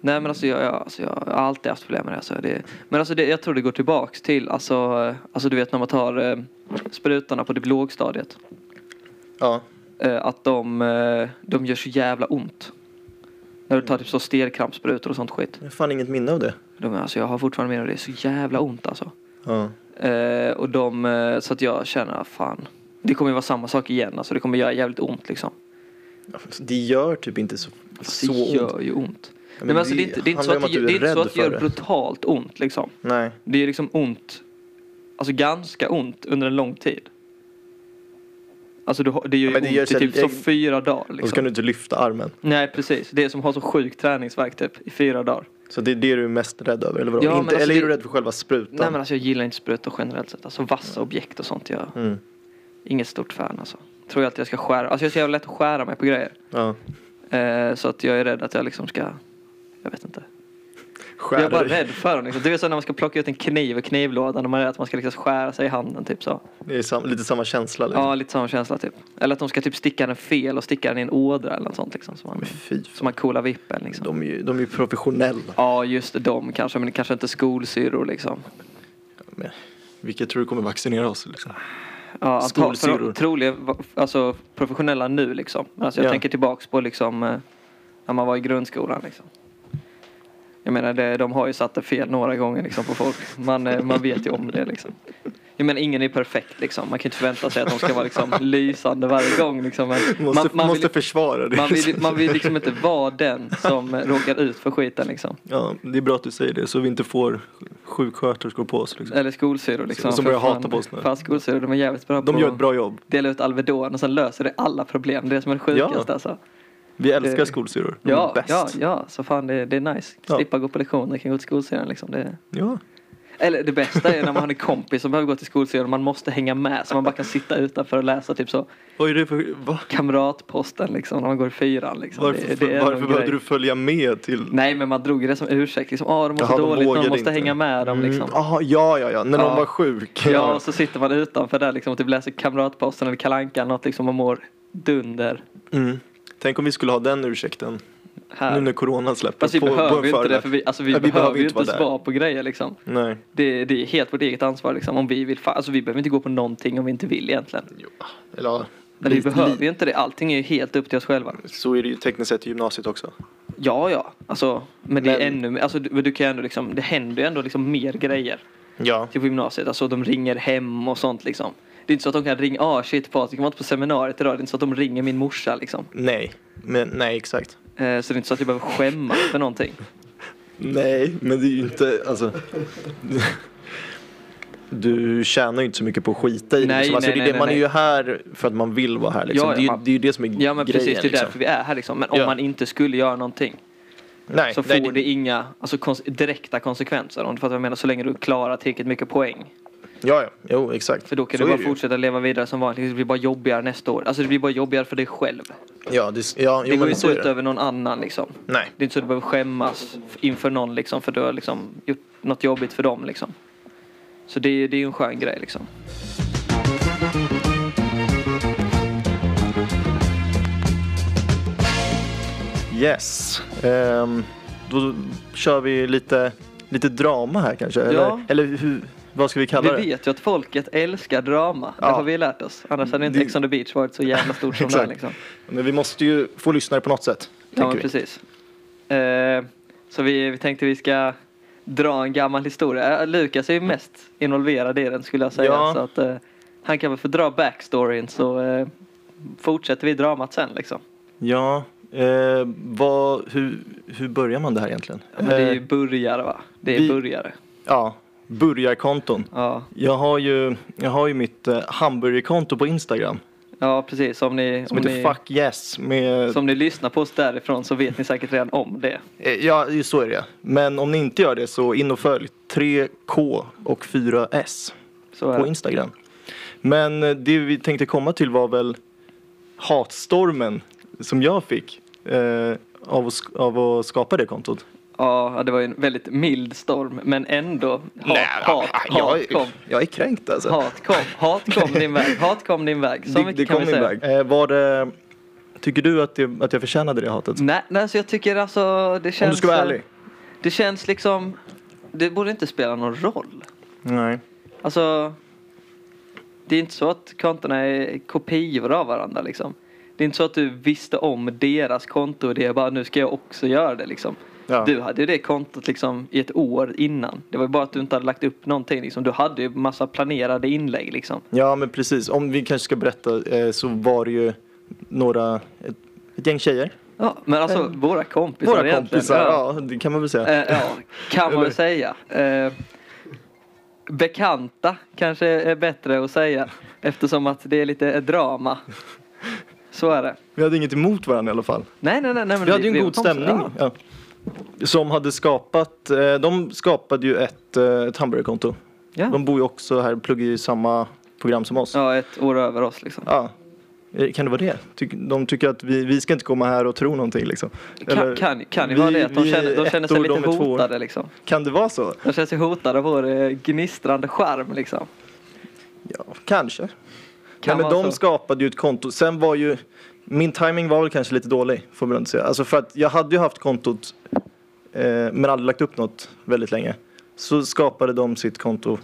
A: Nej men alltså jag, jag, alltså jag har alltid haft problem med det. Alltså det men alltså det, jag tror det går tillbaks till alltså, eh, alltså du vet när man tar eh, sprutorna på det lågstadiet.
B: Ja.
A: Eh, att de, eh, de gör så jävla ont. När du tar typ så stelkrampssprutor och sånt skit.
B: Jag har fan inget minne av det.
A: De, alltså jag har fortfarande med det. Det är så jävla ont alltså.
B: Ja.
A: Eh, och de, eh, så att jag känner fan. Det kommer ju vara samma sak igen. Alltså det kommer göra jävligt ont liksom.
B: Det gör typ inte så,
A: Fast det
B: så ont.
A: gör ju ont. Nej,
B: men
A: men alltså,
B: det
A: det, är inte- det är inte så
B: handlar ju
A: att
B: om
A: det
B: att du
A: gör-
B: är
A: det är inte så
B: rädd
A: att det gör
B: för det.
A: brutalt ont liksom.
B: Nej.
A: Det är liksom ont, alltså ganska ont under en lång tid. Alltså du, har- det gör ju
B: men det
A: ont
B: gör
A: i
B: sig-
A: typ så
B: jag-
A: fyra dagar.
B: Och så kan
A: Liksom.
B: du inte lyfta armen.
A: Nej precis, det är som har så sjuk träningsvärk typ i fyra dagar.
B: Så det är det du är mest rädd över? Eller, vadå?
A: Ja, men
B: inte,
A: alltså
B: eller är du
A: det-
B: rädd för själva sprutan?
A: Nej men alltså jag gillar inte sprutor generellt sett. Alltså vassa objekt och sånt. Jag är
B: mm.
A: inget stort fan alltså. Tror jag att jag ska skära, alltså jag är så jävla lätt att skära mig på grejer.
B: ja.
A: Eh, så att jag är rädd att jag liksom ska, jag vet inte.
B: Skär
A: Jag är bara
B: dig.
A: rädd för dem liksom. Det är så när man ska plocka ut en kniv ur knivlådan och man är rädd att man ska liksom skära sig i handen typ så.
B: Det är sam, lite samma känsla. Liksom.
A: Ja, lite samma känsla typ. Eller att de ska typ sticka den fel och sticka den i en ådra eller något sånt liksom. Som man,
B: Men fy
A: som
B: fan.
A: man coolar vippen liksom.
B: De är ju, de är ju professionella.
A: Ja, just det, de kanske, men kanske inte skolsyrror liksom.
B: Men, vilka tror du kommer vaccinera oss? Liksom?
A: Ja, anta-
B: Skolsyrror.
A: för de- Troligen, va- alltså professionella nu liksom. Men Alltså, jag
B: Ja.
A: tänker tillbaks på liksom eh, när man var i grundskolan liksom. Jag menar, det, de har ju satt det fel några gånger liksom på folk. Man, eh, man vet ju om det liksom. Jag menar, ingen är perfekt liksom. Man kan inte förvänta sig att de ska vara liksom [LAUGHS] lysande varje gång liksom. Men
B: Måste,
A: man, man vill-
B: måste försvara det.
A: Man vill, man vill liksom inte vara den som råkar ut för skiten liksom.
B: Ja, det är bra att du säger det så vi inte får sjuksköterskor på oss. Liksom.
A: Eller skolsyrror liksom.
B: Som
A: För
B: börjar
A: fan-
B: hata på oss nu.
A: Fan skolsyrror, de är jävligt Eh, bra
B: De
A: på
B: gör ett bra jobb.
A: att dela ut Alvedon och sen löser det alla problem. Det är det som är det sjukaste
B: Ja.
A: alltså.
B: Vi älskar
A: Det-
B: skolsyrror. De är
A: Ja,
B: bäst.
A: ja, ja, så fan det, det är nice.
B: Ja.
A: Slippa gå på lektioner, kan gå till skolsyrran liksom. Det,
B: ja.
A: eller det bästa är när man har en kompis som behöver gå till skolsyrran man måste hänga med så man bara kan sitta utanför och läsa typ så
B: Oj, det är för, va?
A: kamratposten liksom när man går i fyran liksom.
B: Varför,
A: det, det är
B: varför
A: någon
B: behövde
A: grej.
B: du följa med till...
A: Nej men man drog det som ursäkt liksom. Ah, de mår
B: Jaha,
A: så
B: de
A: dåligt, de
B: vågade
A: måste
B: inte.
A: hänga med dem liksom.
B: Mm, aha, ja, ja, ja, när
A: Ja.
B: de var sjuk.
A: Ja, och så sitter man utanför där liksom och typ läser Kamratposten eller Kalle Anka eller något liksom och mår dunder.
B: Mm. Tänk om vi skulle ha den ursäkten nu
A: Här.
B: när corona släpper.
A: Fast vi
B: på- på
A: behöver
B: en
A: ju inte det
B: föreläsning.
A: för vi, alltså, vi,
B: Ja,
A: behöver, ju inte
B: vara där.
A: svara på grejer liksom.
B: Nej.
A: Det, det är helt vårt eget ansvar liksom. Om vi vill, fa- alltså vi behöver inte gå på någonting om vi inte vill egentligen.
B: Jo, eller ja,
A: Men vi
B: lite-
A: behöver ju inte det, allting är ju helt upp till oss själva.
B: Så är det ju tekniskt sett i gymnasiet också.
A: Ja, ja, alltså, men det är
B: Men-
A: ännu, alltså du, du kan ju ändå liksom, det händer ju ändå liksom mer grejer.
B: Ja.
A: Typ på gymnasiet, alltså de ringer hem och sånt liksom. Det är inte så att de kan ringa, ah shit Patrik, jag var inte på seminariet idag. Det är inte så att de ringer min morsa liksom.
B: Nej. Men, nej, exakt.
A: Eh, Så det är inte så att jag behöver skämmas för någonting.
B: Nej, men det är ju inte, alltså. Du tjänar ju inte så mycket på att skita i det.
A: Nej,
B: liksom. alltså,
A: nej,
B: det är
A: nej,
B: det, man
A: nej.
B: är ju här för att man vill vara här. Liksom.
A: Ja, ja,
B: det, är, ju-
A: man-
B: det är ju det som är
A: Ja men
B: grejen.
A: precis, det är
B: liksom.
A: därför vi är här liksom. Men om
B: Ja.
A: man inte skulle göra någonting
B: nej,
A: så
B: nej,
A: får det inga alltså, kons- direkta konsekvenser. Om du fattar vad jag menar, så länge du klarar tillräckligt mycket poäng.
B: Ja, ja. Jo, exakt.
A: För då kan du
B: Så är
A: bara
B: det ju.
A: fortsätta leva vidare som vanligt. Det blir bara jobbigare nästa år. Alltså det blir bara jobbigare för dig själv.
B: Ja, det, ja, jo,
A: det går
B: men
A: ju
B: så
A: inte
B: är
A: ut över någon annan liksom.
B: Nej.
A: Det är inte så att du behöver skämmas inför någon liksom för du har liksom gjort något jobbigt för dem liksom. Så det är ju det är ju en skön grej liksom.
B: Yes. Ehm, då kör vi lite, lite drama här kanske.
A: Ja.
B: Eller, eller hur, vad ska vi kalla
A: Vi
B: det?
A: vet ju att folket älskar drama. Det
B: Ja.
A: har vi lärt oss. Annars hade inte
B: Det-
A: Ex on the beach varit så jävla stort
B: [LAUGHS]
A: som det är
B: Exakt.
A: liksom.
B: Men vi måste ju få lyssnare på något sätt.
A: Ja,
B: tänker
A: men
B: vi.
A: precis. Eh, så vi, vi tänkte vi ska dra en gammal historia. Eh, Lukas är ju mest involverad i den skulle jag säga.
B: Ja.
A: Så att, eh, han kan väl få dra backstoryn så eh, fortsätter vi dramat sen liksom.
B: Ja. Eh, vad, hur, hur börjar man det här egentligen?
A: Ja, Men det är ju
B: Eh,
A: burgare va? Det är
B: vi-
A: burgare.
B: ja burgarkonton.
A: Ja.
B: Jag har ju, jag har ju mitt eh, hamburgerkonto på Instagram
A: ja, precis. Om ni,
B: som
A: om
B: heter
A: ni,
B: Fuck Yes. Med,
A: som ni lyssnar på oss därifrån så vet ni säkert redan om det.
B: eh, ja, så är det. Men om ni inte gör det så in och följ 3K och 4S.
A: Så eh, är
B: på
A: det.
B: Instagram. Men eh, det vi tänkte komma till var väl hatstormen som jag fick eh, av, att, sk- av att skapa det kontot.
A: Ja, det var ju en väldigt mild storm men ändå. Hat, hat, hat, kom.
B: jag är kränkt alltså.
A: Hat kom, hat kom din väg, hat kom din väg. Så
B: det
A: mycket
B: det
A: kan
B: kom
A: vi
B: min
A: säga.
B: väg. Eh, var det, tycker du att, det, att jag förtjänade det hatet?
A: Nej, nej alltså jag tycker alltså det känns...
B: Om du ska vara
A: eh,
B: ärlig.
A: Det känns liksom... Det borde inte spela någon roll.
B: Nej.
A: Alltså... Det är inte så att kontona är kopior av varandra liksom. Det är inte så att du visste om deras konto och det är bara nu ska jag också göra det liksom.
B: Ja.
A: Du hade ju det kontot liksom i ett år innan. Det var ju bara att du inte hade lagt upp någonting liksom. Du hade ju massa planerade inlägg liksom.
B: Ja men precis, om vi kanske ska berätta eh, så var det ju några, ett, ett gäng tjejer.
A: Ja, men alltså våra kompisar
B: Våra
A: egentligen.
B: kompisar,
A: Ja.
B: ja. det kan man väl säga.
A: Eh, ja, kan man
B: Eller?
A: väl säga. Eh, bekanta kanske är bättre att säga eftersom att det är lite drama. Så är det.
B: Vi hade inget emot varandra i alla fall.
A: Nej, nej, nej. nej men
B: Vi hade ju en
A: var
B: god
A: kompisar.
B: stämning. Ja. Som hade skapat, eh, de skapade ju ett, eh, ett hamburgerkonto.
A: Ja, ja.
B: De bor ju också här, pluggar ju i samma program som oss. Ja.
A: ja ett år över oss liksom.
B: Eh, Kan det vara det? Tyck- De tycker att vi, vi ska inte komma här och tro någonting liksom.
A: Kan,
B: Eller-
A: kan, kan ju
B: vi-
A: vara det att de
B: vi är
A: känner, de känner sig
B: ettor,
A: lite
B: de är tvåor.
A: hotade liksom.
B: Kan det vara så?
A: De känner sig hotade av vår eh, gnistrande skärm liksom.
B: Ja, kanske.
A: Kan
B: Nej, men
A: vara
B: de
A: så.
B: skapade ju ett konto. Sen var ju, min timing var väl kanske lite dålig får man inte säga. Alltså för att jag hade ju haft kontot eh, men aldrig lagt upp något väldigt länge. Så skapade de sitt konto.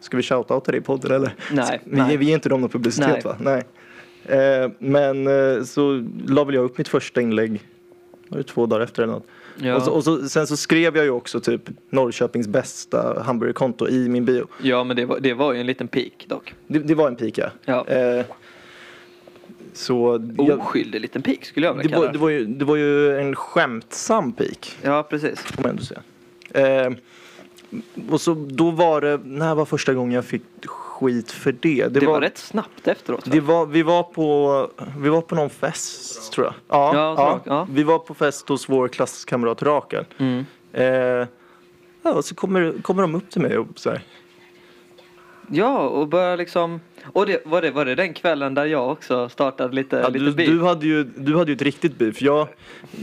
B: Ska vi shoutouta det i podden eller?
A: Nej,
B: vi,
A: nej.
B: vi ger inte dem någon publicitet
A: Nej.
B: va? Nej. Eh, men eh, så la väl jag upp mitt första inlägg. Var det två dagar efter eller något?
A: Ja.
B: alltså, Och, så, och så, sen så skrev jag ju också typ Norrköpings bästa hamburgerkonto i min bio.
A: ja, men det var, det var ju en liten peak dock.
B: Det, det var en pika.
A: Ja. Oh,
B: Eh, så jag,
A: Oskyldig liten peak skulle jag vilja kalla
B: det, var,
A: det.
B: det, var ju, det var ju en skämtsam pik,
A: Ja, precis.
B: får man ändå säga. Eh, Och så då var det, när var första gången jag fick skit för det?
A: Det, var, rätt snabbt efteråt. va?
B: Det var, vi, var på, vi var på någon fest tror jag. Ja,
A: Ja,
B: ja.
A: Rak- ja.
B: Vi var på fest hos vår klasskamrat Rakel.
A: Mm.
B: Eh, ja, och så kommer, kommer de upp till mig och så här.
A: Ja, och börja liksom... Och det, var, det, var det den kvällen där jag också startade lite,
B: Ja,
A: lite
B: du,
A: beef?
B: du, hade ju, du hade ju ett riktigt beef. Jag,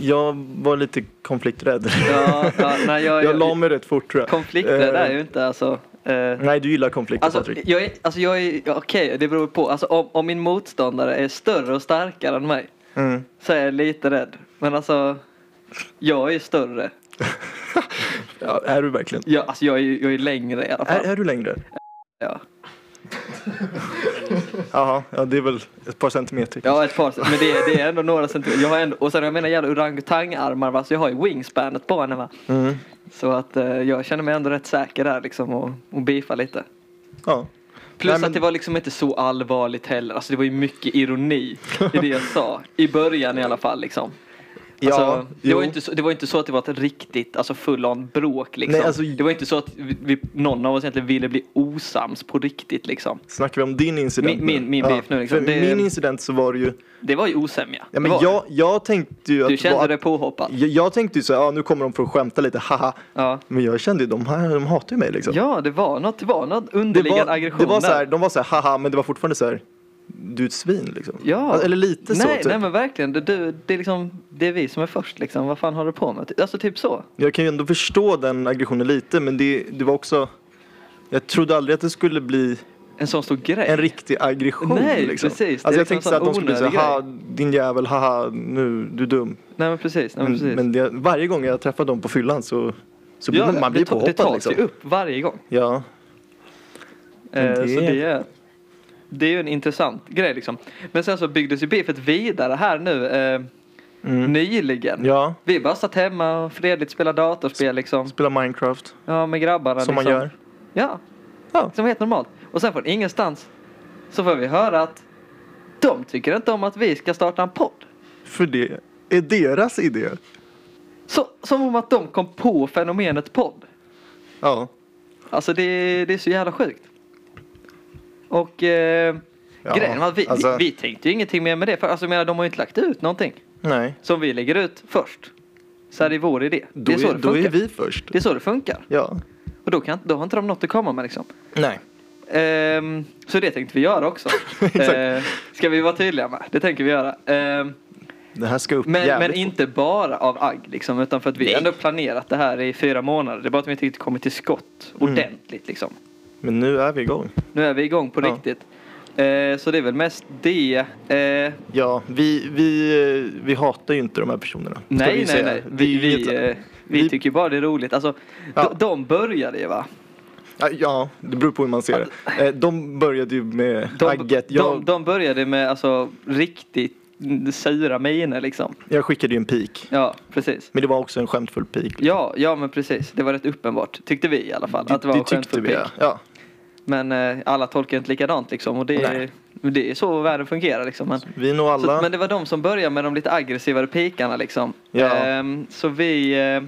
B: jag var lite konflikträdd.
A: Ja, ja, nej, jag,
B: [LAUGHS] jag la mig rätt fort tror jag.
A: Konflikter där
B: Eh,
A: är ju inte alltså... Eh,
B: Nej, du gillar konflikter
A: alltså,
B: Patrik.
A: jag är, alltså jag är, ja, okej det beror på. Alltså om, om min motståndare är större och starkare än mig
B: Mm.
A: så är jag lite rädd. Men alltså, jag är större.
B: Ja, är du verkligen?
A: Jag, alltså jag är, ju- jag är längre i alla
B: Är,
A: fall.
B: är du längre?
A: Ja,
B: Jaha, ja, det är väl ett par centimeter.
A: ja ett par men det, är- det är ändå några centimeter. Jag har ändå, och sen har jag mina jävla orangutangarmar va, så jag har ju wingspanet på henne va.
B: Mm.
A: Så att eh, jag känner mig ändå rätt säker där liksom och, och beefa lite. Alltså,
B: ja.
A: Plus
B: Nej, men-
A: att det var liksom inte så allvarligt heller. Alltså det var ju mycket ironi i det jag sa. I början i alla fall liksom. Alltså,
B: Ja,
A: det, var
B: jo.
A: ju inte så, det var ju inte så att det var ett riktigt alltså full on bråk liksom.
B: Nej, alltså-
A: det var inte så att vi, vi, någon av oss egentligen ville bli osams på riktigt liksom.
B: Snackar vi om din incident?
A: Min- min-
B: nu?
A: min beef nu, liksom.
B: För
A: Det-
B: Min incident så var det ju,
A: Det var ju osämja.
B: ja,
A: Det
B: men
A: var,
B: jag, jag tänkte ju att...
A: du kände
B: var,
A: dig påhoppad.
B: Jag, jag tänkte ju så här, ja nu kommer de för att skämta lite, haha.
A: Ja.
B: Men jag kände ju, de här, de hatar ju mig liksom.
A: ja, det var något, det var något
B: det
A: underliggande
B: var,
A: aggression
B: det var så här,
A: där.
B: de var så här, haha, men det var fortfarande så här, du är ett svin liksom.
A: Ja.
B: Eller lite
A: nej,
B: så typ.
A: Nej men verkligen, det, du, det, är liksom, det är vi som är först liksom. Vad fan håller du på med? Alltså typ så.
B: Jag kan ju ändå förstå den aggressionen lite, men det, det var också, jag trodde aldrig att det skulle bli
A: En sån stor grej.
B: en riktig aggression.
A: Nej,
B: liksom.
A: precis. Det är
B: Alltså, jag
A: liksom
B: tänkte
A: en
B: så att
A: sån
B: de skulle bli så här,
A: onödig
B: "Ha, din jävel, haha, nu, du är dum.
A: Nej men precis. Nej, men,
B: Men,
A: precis.
B: men det, varje gång jag träffar dem på fyllan så, så blir man, man blir
A: det, ta- det
B: påhoppad
A: tas
B: liksom.
A: ju upp varje gång.
B: Ja, Men
A: Eh,
B: det-
A: Så det är, det är ju en intressant grej liksom. Men sen så byggdes ju beefet vidare här nu eh,
B: Mm.
A: nyligen.
B: ja.
A: Vi bara satt hemma och fredligt spelade datorspel liksom.
B: Spela Minecraft,
A: Ja, med grabbarna
B: som man
A: liksom.
B: gör.
A: Ja,
B: Ja.
A: som helt normalt. Och sen från ingenstans så får vi höra att de tycker inte om att vi ska starta en podd.
B: För det är deras idé.
A: Så, som om att de kom på fenomenet podd.
B: Ja.
A: Alltså det, det är så jävla sjukt. Och eh,
B: Ja,
A: grejen var att vi,
B: alltså-
A: vi, vi tänkte ju ingenting mer med det. För alltså, jag menar, de har ju inte lagt ut någonting
B: Nej.
A: som vi lägger ut först. Så här är vår idé.
B: Då
A: det är så
B: är,
A: det
B: då
A: funkar.
B: är vi först.
A: Det är så det funkar.
B: Ja.
A: Och då, kan, då har inte de något att komma med liksom.
B: Nej.
A: Ehm, så det tänkte vi göra också.
B: [LAUGHS] Exakt.
A: Ehm, ska vi vara tydliga med. Det tänker vi göra. Ehm,
B: Det här ska upp
A: men,
B: jävligt
A: men inte bara av agg liksom. Utan för att vi
B: Nej.
A: ändå planerat det här i fyra månader. Det är bara att vi inte riktigt kommit till skott
B: Mm.
A: ordentligt liksom.
B: fort. Men nu är vi igång.
A: Nu är vi igång på
B: Ja.
A: riktigt. Eh, så det är väl mest det. Eh, nej,
B: Ja, vi, vi, eh, vi hatar ju inte de här personerna. ska vi
A: nej,
B: säga.
A: nej.
B: Det
A: Vi,
B: är ju
A: vi,
B: inget-
A: eh, vi
B: vi-
A: tycker ju bara det är roligt. Alltså,
B: Ja.
A: de, de började ju va?
B: Ja, Ja, det beror på hur man ser det. Eh, De började ju med
A: De,
B: agget. Jag,
A: de, de började med alltså riktigt sura miner liksom.
B: jag skickade ju en pik.
A: Ja, precis.
B: Men det var också en skämtfull pik.
A: Ja, ja men precis. Det var rätt uppenbart. Tyckte vi i alla fall. att det var en skämtfull pik.
B: ja. ja.
A: Men eh, alla tolkar inte likadant liksom. Och det är, det är så världen fungerar liksom. Men,
B: Vi är nog alla.
A: Så, men det var de som började med de lite aggressivare pikarna liksom.
B: Ja.
A: Ehm, så vi, eh,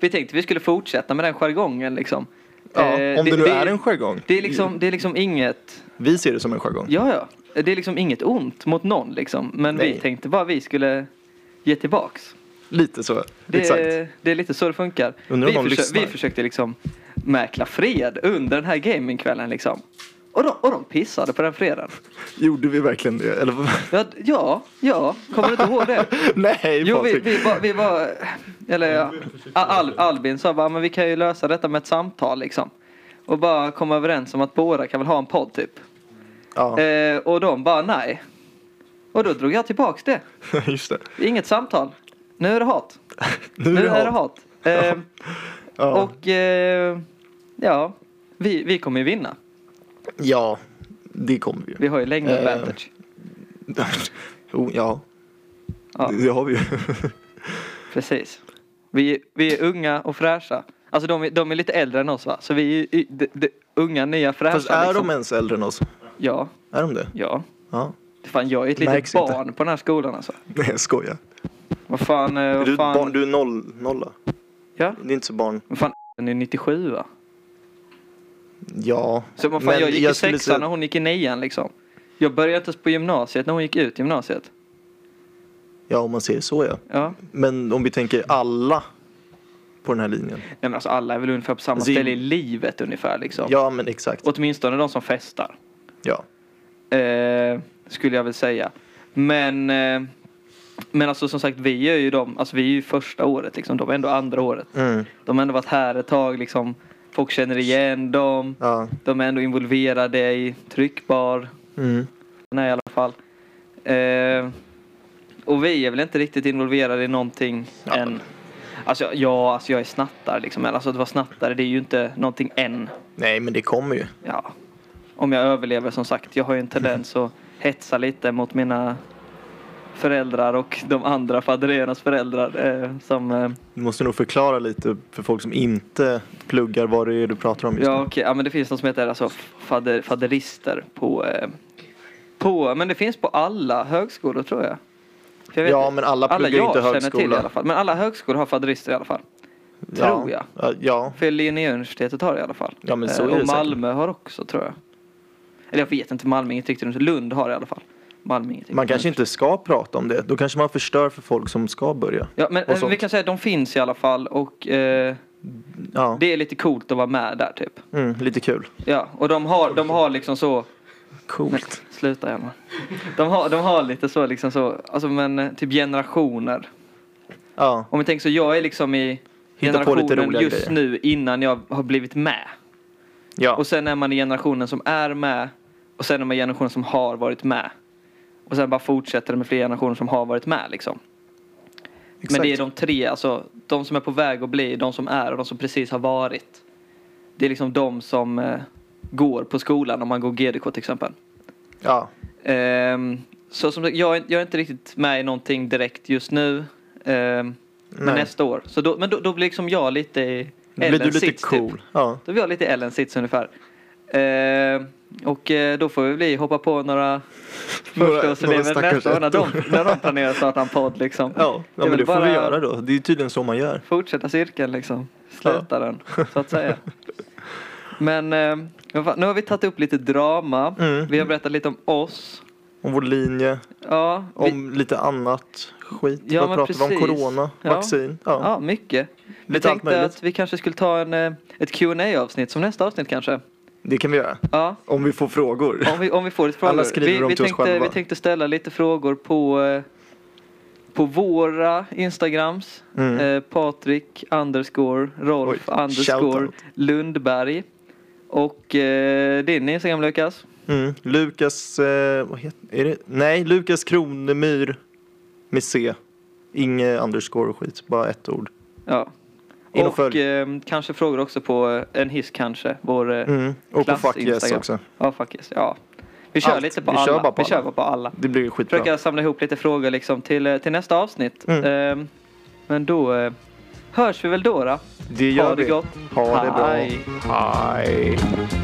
A: vi tänkte vi skulle fortsätta med den jargongen liksom.
B: ja,
A: Eh,
B: om det, nu
A: det,
B: är en jargong.
A: det är liksom, det är liksom inget,
B: Vi ser det som en jargong.
A: ja ja, det är liksom inget ont mot någon liksom. Men vi
B: Nej.
A: tänkte bara vi skulle ge tillbaks.
B: Lite så.
A: Det, eh,
B: Exakt.
A: det är lite så det funkar.
B: Undrar om
A: vi,
B: någon lyssnar.
A: vi försökte liksom mäkla fred under den här gamingkvällen liksom. Och de, och de pissade på den fredagen.
B: Gjorde vi verkligen det? Eller? vad? [LAUGHS]
A: Ja, ja, ja. kommer du inte ihåg det?
B: Nej
A: Jo, vi,
B: Patrik.
A: vi, var, vi var... Eller ja, Al, Albin sa bara, men vi kan ju lösa detta med ett samtal liksom. Och bara komma överens om att båda kan väl ha en podd typ.
B: Ja,
A: Eh, och de bara nej. Och då drog jag tillbaks det.
B: [LAUGHS] just det.
A: Inget samtal. Nu är det hat.
B: Nu är
A: Nu
B: det
A: är det
B: hat.
A: hat. Eh,
B: Ja.
A: och eh, ja, vi, vi kommer ju vinna.
B: ja, det kommer vi ju. [LAUGHS]
A: Vi har ju längre
B: Eh.
A: advantage.
B: Jo, ja.
A: Ja.
B: Det, det har vi ju.
A: Precis. Vi, vi är unga och fräscha. Alltså de är, de är lite äldre än oss va? Så vi är i- de, de, unga, nya, fräscha.
B: Fast är
A: liksom.
B: de ens äldre än oss?
A: Ja,
B: Är de det?
A: ja.
B: Ja. [LAUGHS]
A: Fan, jag är ett litet
B: Märks inte.
A: barn på den här skolan alltså.
B: Nej, jag skojar.
A: Vad fan, eh,
B: Är du,
A: vad
B: ett barn,
A: fan.
B: du är noll, nolla.
A: Ja?
B: Det är inte så barn.
A: Vad fan Den är 97 va?
B: Ja.
A: Så vad fan,
B: men
A: jag gick i
B: skulle
A: sexan
B: säga-
A: och hon gick i nian liksom. Jag började inte ens på gymnasiet när hon gick ut gymnasiet.
B: Ja, om man ser det så ja.
A: Ja.
B: Men om vi tänker alla på den här linjen.
A: Nej men alltså alla är väl ungefär på samma
B: Alltså, i-
A: ställe i livet ungefär liksom.
B: Ja, men exakt.
A: Åtminstone de som festar.
B: Ja.
A: Eh, skulle jag väl säga. Men, eh, men alltså som sagt vi är ju de, alltså vi är ju första året liksom. De är ändå andra året.
B: Mm.
A: De har ändå varit här ett tag liksom. Folk känner igen dem.
B: Ja.
A: De är ändå involverade i tryckbar.
B: Mm.
A: Nej, i alla fall. Eh, och vi är väl inte riktigt involverade i någonting
B: Ja.
A: än. Alltså, ja, alltså jag är snattare liksom. Men Alltså att vara snattare, det är ju inte någonting än.
B: Nej, men det kommer ju.
A: Ja. Om jag överlever som sagt. Jag har ju en tendens
B: [LAUGHS]
A: att hetsa lite mot mina föräldrar och de andra fadderernas föräldrar. Eh, som, eh,
B: Du måste nog förklara lite för folk som inte pluggar vad det är du pratar om just
A: ja,
B: nu.
A: okej. ja, men det finns något som heter alltså fadder, fadderister på, eh, på, men det finns på alla högskolor tror jag. För jag vet
B: Ja,
A: inte-
B: men alla
A: Alla
B: pluggar ju
A: jag
B: inte
A: känner till i
B: högskola.
A: alla fall. Men alla högskolor har faderister i alla fall.
B: ja.
A: Tror jag.
B: Ja, ja.
A: För Linnéuniversitetet har det i alla fall.
B: Ja, men så
A: Eh,
B: är det
A: Och
B: säkert.
A: Malmö har också tror jag. Eller jag vet inte, Malmö är inget riktigt Lund har det i alla fall. Malmö är inget riktigt
B: Man kanske inte ska prata om det. Då kanske man förstör för folk som ska börja.
A: Ja, men
B: och
A: eh, vi
B: sånt.
A: kan säga att de finns i alla fall och eh,
B: Ja,
A: det är lite coolt att vara med där typ.
B: mm, lite kul.
A: Ja, och de har, de har liksom så... Nej,
B: Coolt.
A: sluta Hjalmar. De har, de har lite så liksom så, alltså men eh, typ generationer.
B: Ja,
A: Om vi tänker så, jag är liksom i
B: Hitta på lite
A: generationen
B: roliga
A: just
B: grejer.
A: nu innan jag har blivit med.
B: ja.
A: Och sen är man i generationen som är med. Och sen är man i generationen som har varit med. Och sen bara fortsätter det med fler generationer som har varit med liksom. Men det är de tre, alltså de som är på väg att bli, de som är och de som precis har varit. Det är liksom de som eh, går på skolan om man går GDK till exempel.
B: Ja,
A: Ehm, så som sagt, jag, är- jag är inte riktigt med i någonting direkt just nu. Ehm, men
B: Nej.
A: nästa år. Så då, men då, då blir liksom jag lite i
B: då blir du
A: Ellens
B: lite
A: sits, typ.
B: cool. Ja.
A: Då var jag lite i Ellens sits ungefär. Eh, och eh, då får vi bli hoppa på några typ.
B: Några- några
A: förstaårselever
B: stackars
A: nästa år när de,
B: ettor.
A: när de planerar att starta en podd liksom.
B: [LAUGHS] Ja,
A: är
B: ja men
A: väl
B: det får
A: bara-
B: vi göra då. Det är tydligen så man gör.
A: Fortsätta cirkeln liksom. Sluta den, så att säga. Men eh, vad fan, nu har vi tagit upp lite drama.
B: Mm.
A: Vi har berättat lite om oss.
B: Om vår linje,
A: Ja, vi,
B: om lite annat skit.
A: Ja,
B: Vad
A: men
B: pratar vi om?
A: precis.
B: Corona,
A: Ja.
B: vaccin. Ja.
A: ja mycket. Vi
B: Lite allt
A: tänkte
B: möjligt.
A: att vi kanske skulle ta en, eh, ett qa avsnitt som nästa avsnitt kanske.
B: Det kan vi göra.
A: Ja,
B: Om vi får frågor.
A: Om vi, om vi får lite frågor.
B: Alla skriver
A: vi,
B: dem
A: vi,
B: till oss
A: tänkte,
B: själva.
A: vi tänkte ställa lite frågor på, eh, på våra Instagrams.
B: Mm.
A: Eh, Patrik underscore Rolf
B: Oj,
A: underscore
B: shoutout.
A: Lundberg. Och eh, din Instagram Lukas.
B: Mm. Lukas, eh, vad heter är det? Nej, Lukas Kronemyr med C. Inge underscore och skit, bara ett ord.
A: Ja.
B: In och
A: Och
B: följ.
A: eh, kanske frågor också på eh, en hiss kanske. Vår, eh,
B: Mm. Och på
A: Klass
B: Fuck Yes
A: Instagram.
B: också.
A: ja fuck yes, ja. Vi kör
B: Allt.
A: lite på
B: Vi
A: alla.
B: kör bara på
A: vi kör
B: alla.
A: bara på alla.
B: Det blir skitbra.
A: försöka samla ihop lite frågor liksom till, eh, till nästa avsnitt.
B: Mm.
A: Ehm, men då eh, hörs vi väl då. då.
B: Det gör
A: ha det
B: vi.
A: gott.
B: Ha det bra.
A: Hej.
B: Hej.